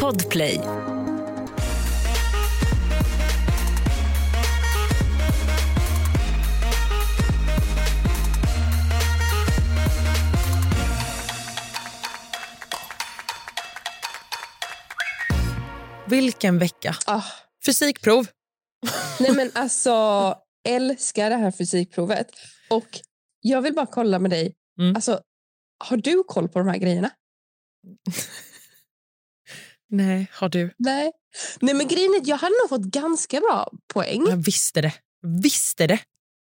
Podplay. Vilken vecka. Ah, Fysikprov. nej men alltså, älskar det här fysikprovet. Och jag vill bara kolla med dig. Mm. Alltså, har du koll på de här grejerna? Nej, har du? Nej. Nej men grejen är att jag hade nog fått ganska bra poäng. Jag visste det. Visste det.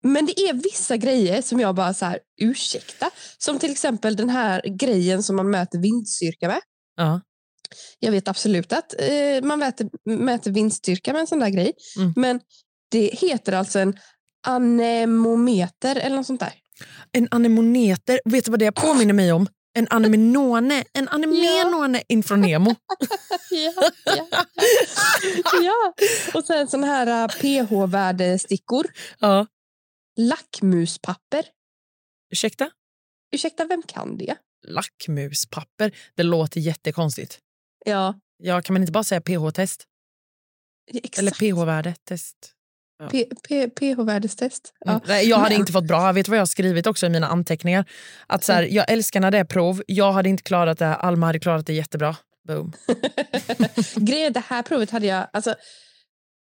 Men det är vissa grejer som jag bara så här, ursäkta. Som till exempel den här grejen som man mäter vindstyrka med. Ja. Jag vet absolut att eh, man mäter, mäter vindstyrka med en sån där grej. Mm. Men det heter alltså en anemometer eller något sånt där. En anemoneter. Vet du vad det påminner mig om? En anemonone. En anemonone infrån Nemo. Ja, ja, ja. ja. Och sen sån här eh, pH-värdestickor. Ja. Lackmuspapper. Ursäkta? Ursäkta, vem kan det? Lackmuspapper. Det låter jättekonstigt. Ja, Ja, kan man inte bara säga pH-test? exakt. Eller pH-värdetest? P- P- pH-värdestest. Ja. Mm. Nej, Jag hade Men- inte fått bra. Vet du vad jag har skrivit också i mina anteckningar? Att så här, Mm. jag älskar när det är prov. Jag hade inte klarat det här. Alma hade klarat det jättebra. Boom. Grejen är, det här provet hade jag... Alltså,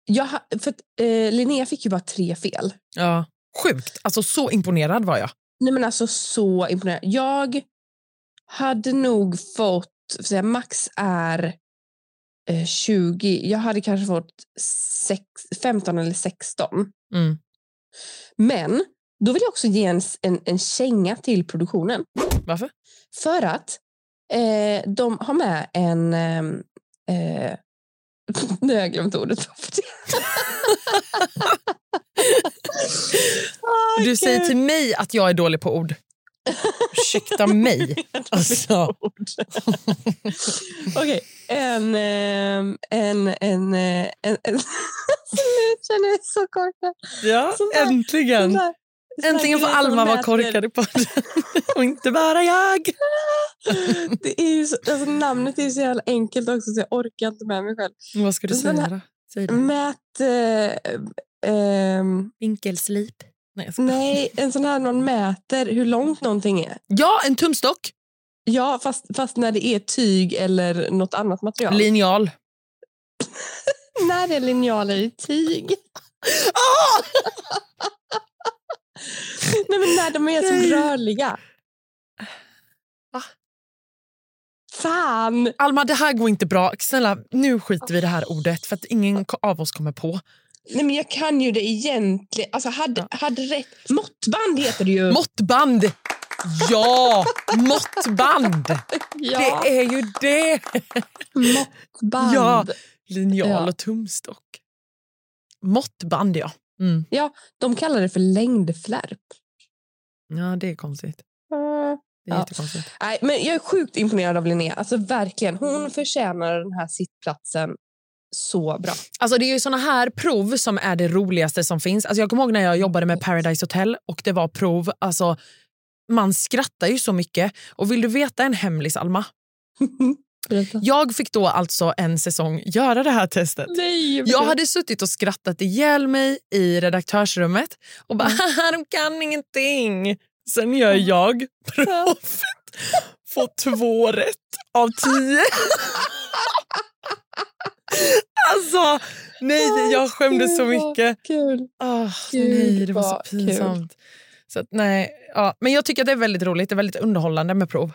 jag ha- för att, eh, Linnea fick ju bara tre fel. Ja. Sjukt. Alltså så imponerad var jag. Nej men alltså så imponerad. Jag hade nog fått, för att säga, max är eh, 20. Jag hade kanske fått sex, 15 eller 16. Mm. Men då vill jag också ge en, s- en, en känga till produktionen. Varför? För att eh, de har med en... ehm, Eh, nu har jag glömt ordet. Ah, Du gud. säger till mig att jag är dålig på ord. Ursäkta mig. Alltså. Okej, en, ehm, en, en, eh, en, en... nu känner jag mig så korkad. Ja, Sån där- Sån äntligen. där- sån Äntligen får där grej som Alma vara mäter- korkad i podden och inte bara jag. Det är ju så, alltså, namnet är ju så jävla enkelt också så jag orkar inte med mig själv. Vad ska du Sån säga då? Säg det. Mät... Eh, ehm, Vinkelslip. Nej, jag skojar. nej, en sån här någon mäter hur långt någonting är. Ja, en tumstock. Ja, fast, fast när det är tyg eller något annat material. Linjal. när det är linjaler i tyg. Ah! Nej, men när de är Nej. som rörliga. Va? Fan! Alma, det här går inte bra. Snälla, nu skiter vi i det här ordet för att ingen ko- av oss kommer på. Nej, men jag kan ju det egentligen. Alltså, hade, hade rätt. Måttband heter det ju. Måttband! Ja, måttband! ja, Det är ju det! måttband. Ja. Linjal Ja. och tumstock. Måttband, ja. Mm. De kallar det för längdflärp. Ja, det är konstigt. Det är Ja. jättekonstigt. Nej, men jag är sjukt imponerad av Linnea. Alltså, verkligen. Hon förtjänar den här sittplatsen så bra. Alltså det är ju såna här prov som är det roligaste som finns. Alltså jag kommer ihåg när jag jobbade med Paradise Hotel och det var prov. Alltså man skrattar ju så mycket. Och vill du veta en hemlis, Alma? Jag fick då alltså en säsong göra det här testet. Nej, men- Jag hade suttit och skrattat ihjäl mig i redaktörsrummet och Mm. bara haha, de kan ingenting. Sen gör jag proffet. Får två rätt av tio. Alltså, nej, jag skämdes så Gud, vad mycket. Kul. Ah, Gud, nej, det var så vad kul. pinsamt. Så att, nej, ja. Men jag tycker att det är väldigt roligt. Det är väldigt underhållande med prov.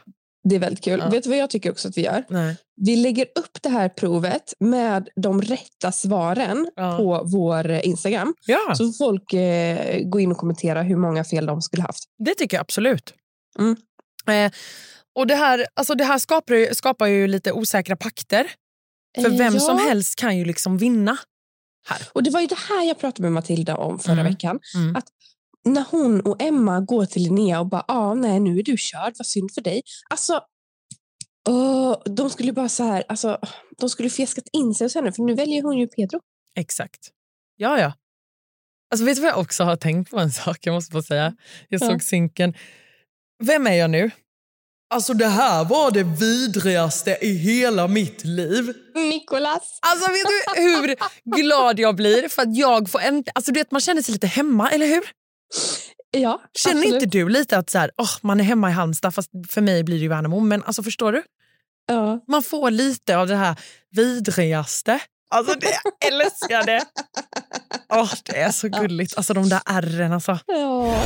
Det är väldigt kul. Ja. Vet du vad jag tycker också att vi gör? Nej. Vi lägger upp det här provet med de rätta svaren Ja. på vår eh, Instagram. ja, Så får folk eh, gå in och kommentera hur många fel de skulle haft. det tycker jag absolut. Mm. Eh, och Det här, alltså det här skapar, ju, skapar ju lite osäkra pakter. För Eh, vem ja. som helst kan ju liksom vinna. Och det var ju det här jag pratade med Matilda om förra Mm. veckan. Mm. Att när hon och Emma går till Linnea och bara ah, nej nu är du körd, vad synd för dig. Alltså, åh, de skulle bara så här, alltså, de skulle fjäskat in sig hos henne för nu väljer hon ju Pedro. Exakt. Ja, ja. Alltså, vet du vad jag också har tänkt på en sak? Jag måste bara säga. Jag Ja. såg synken. Vem är jag nu? Alltså det här var det vidrigaste i hela mitt liv. Nikolas! Alltså vet du hur glad jag blir för att jag får en... Alltså du vet man känner sig lite hemma, eller hur? Ja, Känner absolut. inte du lite att så här, åh, man är hemma i Halmstad fast för mig blir det ju Värnamo. Men alltså förstår du? Ja. Man får lite av det här vidrigaste. Alltså det, jag älskar det. Åh, det är så gulligt. Alltså de där ärren alltså. ja.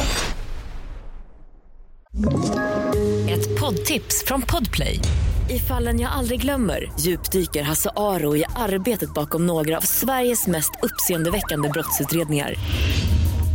Ett poddtips från Podplay. I fallen jag aldrig glömmer djupdyker Hasse Aro i arbetet bakom några av Sveriges mest uppseendeväckande brottsutredningar.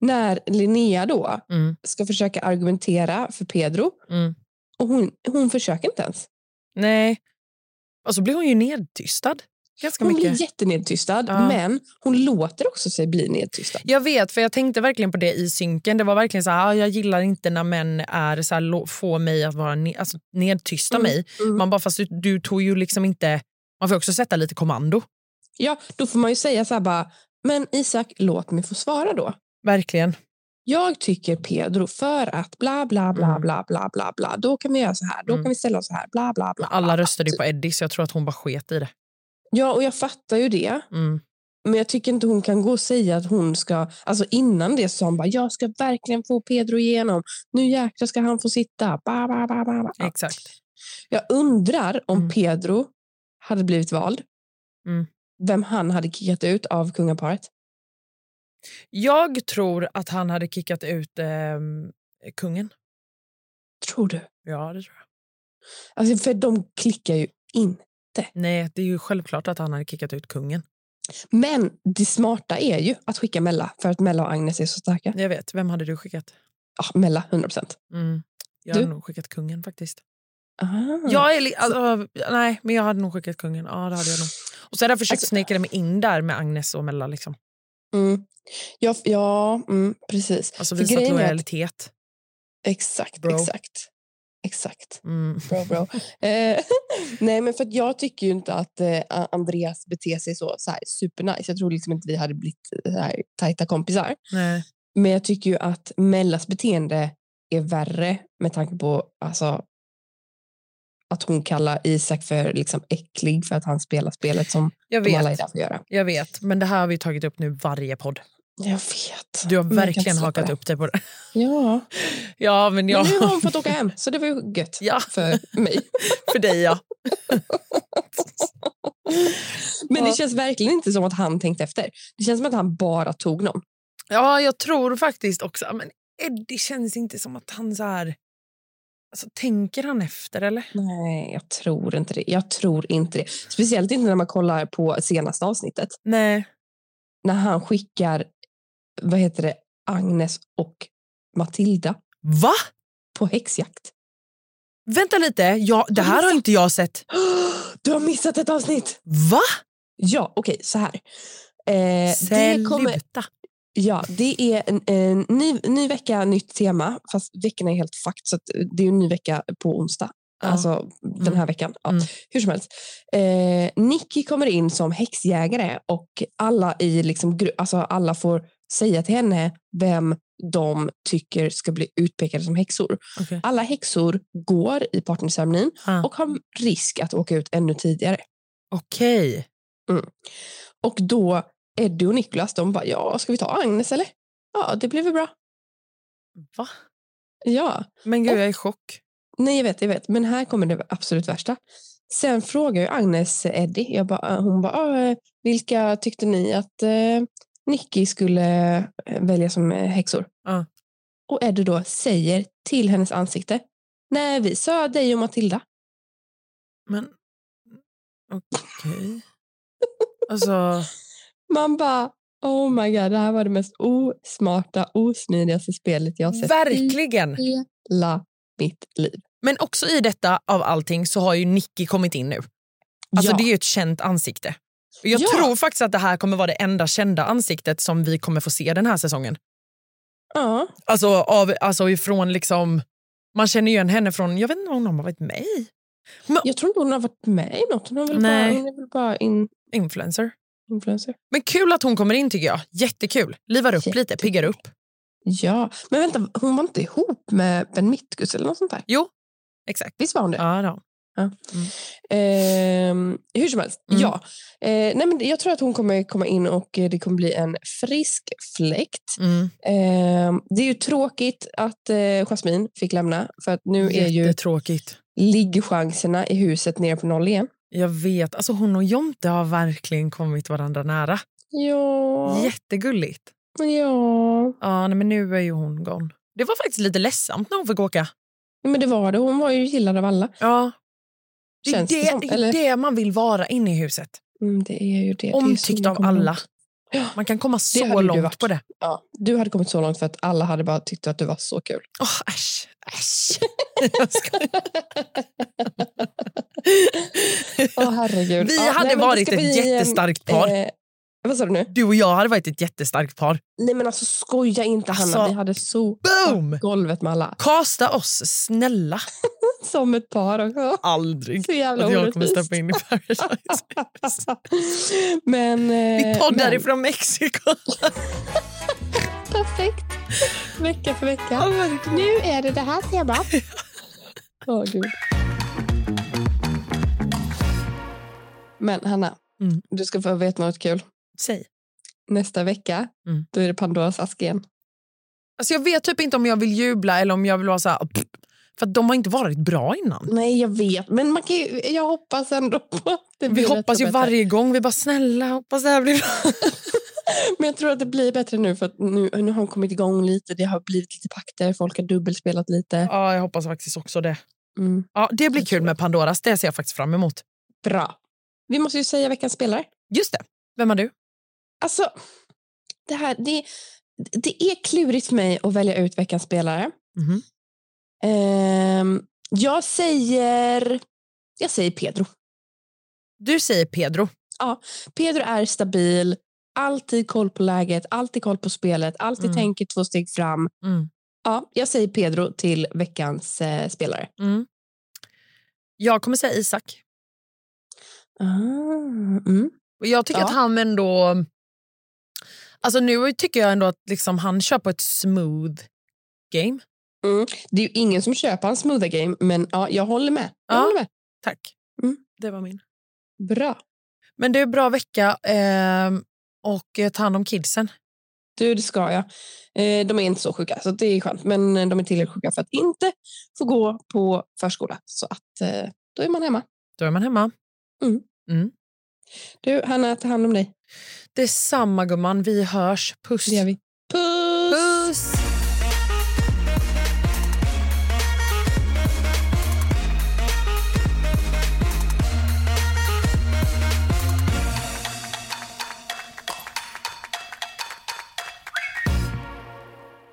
När Linnea då Mm. ska försöka argumentera för Pedro Mm. och hon, hon försöker inte ens. Nej. Och så blir hon ju nedtystad. Ganska Hon mycket. blir jättenedtystad, Ja. men hon låter också sig bli nedtystad. Jag vet, för jag tänkte verkligen på det i synken. Det var verkligen så här, ah, jag gillar inte när män är så här, lo- får mig att vara ne- alltså, nedtysta Mm, mig. mm. Man bara, fast du, du tog ju liksom inte... Man får också sätta lite kommando. Ja, då får man ju säga så här bara, men Isak, låt mig få svara då. Verkligen. Jag tycker Pedro för att bla bla bla Mm. bla bla bla bla. Då kan vi göra så här, då Mm. kan vi ställa oss så här, bla bla bla. Alla bla, bla. röstade ju på Eddie så jag tror att hon bara sket i det. Ja, och jag fattar ju det. Mm. Men jag tycker inte hon kan gå och säga att hon ska... Alltså innan det sa hon bara, jag ska verkligen få Pedro igenom. Nu jäklar ska han få sitta. Ba, ba, ba, ba, ba. Exakt. Jag undrar om Mm. Pedro hade blivit vald. Mm. Vem han hade kickat ut av kungaparet. Jag tror att han hade kickat ut ehm, kungen. Tror du? Ja, det tror jag. Alltså, för de klickar ju in. Nej, det är ju självklart att han hade kickat ut kungen. Men det smarta är ju att skicka Mella för att Mella och Agnes är så starka. Jag vet. Vem hade du skickat? Ja, Mella, 100 procent. Mm. Jag hade Du? nog skickat kungen faktiskt. Ah, Jag är li- alltså, nej, men jag hade nog skickat kungen. Ja, det hade jag nog. Och så hade jag försökt Alltså- snicka mig in där med Agnes och Mella. Liksom. Mm. Ja, ja mm, precis. Alltså För visat grejen är att- lojalitet. Exakt, Bro. exakt. Exakt. Mm. Bro, bro. eh, nej, men för att jag tycker ju inte att eh, A- Andreas beter sig så, så här, supernice. Jag tror liksom inte vi hade blivit så här, tajta kompisar. Nej. Men jag tycker ju att Mellas beteende är värre med tanke på alltså, att hon kallar Isak för liksom, äcklig för att han spelar spelet som Jag de alla är vet, där för att göra. jag vet, men det här har vi tagit upp nu varje podd. Jag vet. Du har Men jag kan inte verkligen släppa hakat det. upp dig på det. Ja. Ja, men Men jag... nu har hon fått åka hem, så det var ju gött Ja, för mig. för dig ja. Men det Ja. känns verkligen inte som att han tänkte efter. Det känns som att han bara tog någon. Ja, jag tror faktiskt också... Men Eddie känns inte som att han så här... Alltså, tänker han efter eller? Nej, jag tror inte det. Jag tror inte det. Speciellt inte när man kollar på senaste avsnittet. Nej. När han skickar vad heter det, Agnes och Matilda Va? på häxjakt. Vänta lite, ja, det här har inte jag sett. Du har missat ett avsnitt! Va? Ja, okej, så här. Eh, det kommer, Sluta. Ja, det är en, en ny, ny vecka, nytt tema. Fast veckorna är helt fucked, så att eh, det är en ny vecka på onsdag. Ja. Alltså den här veckan. Ja. Mm. Hur som helst. Eh, Nicky kommer in som häxjägare och alla, i liksom, gru- alltså, alla får säga till henne vem de tycker ska bli utpekade som häxor. Okej. Alla häxor går i partnerceremonin Ah. och har risk att åka ut ännu tidigare. Okej. Och då Eddie och Niklas, de bara, ja, ska vi ta Agnes eller? Ja, det blir väl bra. Va? Ja. Men gud, jag är i chock. Nej, jag vet, jag vet. Men här kommer det absolut värsta. Sen frågar ju Agnes Eddie. Jag bara, hon bara, "Ah, eh, vilka tyckte ni att eh, Nicky skulle eh, välja som eh, häxor? Ja. Och Eddie då säger till hennes ansikte. Nej, vi sa dig och Matilda. Men okej. Alltså, Man bara, oh my god, det här var det mest osmarta, osmidigaste spelet jag har sett i verkligen. hela mitt liv. Men också i detta av allting så har ju Nicky kommit in nu. Alltså Ja. Det är ju ett känt ansikte. Och Jag Ja. tror faktiskt att det här kommer vara det enda kända ansiktet som vi kommer få se den här säsongen. Ja. Alltså, av, alltså ifrån liksom... Man känner igen henne från... Jag vet inte om någon har varit med i. Jag tror inte hon har varit med i något. Hon, har väl Nej. bara, hon är väl bara in, Influencer. influencer. Men kul att hon kommer in tycker jag. Jättekul. Livar upp lite, Jättekul. piggar upp. Ja, men vänta, hon var inte ihop med Ben Mitkus eller något sånt där? Exakt. Visst var hon det? Ja, då. Ehm, hur som helst, Mm. ja. Eh, nej, men jag tror att hon kommer komma in och eh, det kommer bli en frisk fläkt. Mm. Ehm, det är ju tråkigt att eh, Jasmine fick lämna för att nu är ju Jättetråkigt. liggchanserna i huset nere på noll igen. Jag vet. Alltså hon och Jonte har verkligen kommit varandra nära. Ja, Jättegulligt. ja. Ja, nej, men nu är ju hon gone. Det var faktiskt lite ledsamt när hon fick åka. Men det var det. Hon var ju gillad av alla. Ja. Det är Känns det det, som, det, är eller? det man vill vara inne i huset. Mm, det är ju det. det. är ju så Omtyckt man av kommer alla. långt. Ja. Man kan komma så hade ju du långt varit. på det. Ja, du hade kommit så långt för att alla hade bara tyckt att du var så kul. Åh, äsch, äsch. Jag skojar. Åh, herregud. Vi Ja, nej, hade men det varit ska ett bli, ehm, jättestarkt par. Eh, vad sa du nu? Du och jag hade varit ett jättestarkt par. Nej men alltså skoja inte Hanna, Alltså, vi hade så Boom! golvet med alla. Kasta oss, snälla. Som ett par också. Aldrig Så jävla att jag kommer orättvist. Eh, steppa in i Paradise. men, eh, Vi poddar men, ifrån Mexiko. Perfekt. Vecka för vecka. Nu är det det här temat. Åh gud. Men Hanna, Mm. du ska få veta något kul. Säg. Nästa vecka, Mm. då är det Pandoras ask igen. Alltså jag vet typ inte om jag vill jubla eller om jag vill vara så här... "Pff", För att de har inte varit bra innan. Nej, jag vet. Men man kan ju, jag hoppas ändå på att det Vi blir hoppas lite ju bättre. varje gång. Vi bara snälla, hoppas det här blir bra. Men jag tror att det blir bättre nu för att nu, nu har hon kommit igång lite. Det har blivit lite pakter, folk har dubbelspelat lite. Ja, jag hoppas faktiskt också det. Mm. Ja, det blir Jag kul tror med Pandoras. Det ser jag faktiskt fram emot. Bra. Vi måste ju säga veckans spelare. Just det. Vem har du? Alltså, det här, det, det är klurigt för mig att välja ut veckans spelare. Mhm. Ehm, jag säger... Jag säger Pedro. Du säger Pedro. Pedro är stabil, alltid koll på läget, alltid koll på spelet, alltid Mm. tänker två steg fram. Mm. Ja, jag säger Pedro till veckans eh, spelare. Mm. Jag kommer säga Isak. Ah, mm. Och jag tycker Ja. att han ändå... Alltså nu tycker jag ändå att liksom han kör på ett smooth game. Det är ju ingen som köper hans smoother game, men ja, jag håller med. Jag Ja. håller med. Tack. Mm. Det var min. Bra. Men det är en bra vecka ehm, och eh, ta hand om kidsen. Du, det ska jag. Eh, de är inte så sjuka, så det är skönt. Men eh, de är tillräckligt sjuka för att inte få gå på förskola. Så att eh, då är man hemma. Då är man hemma. Du, Hanna, ta hand om dig. Det är samma gumman. Vi hörs. Puss. Det gör vi. Puss! Puss.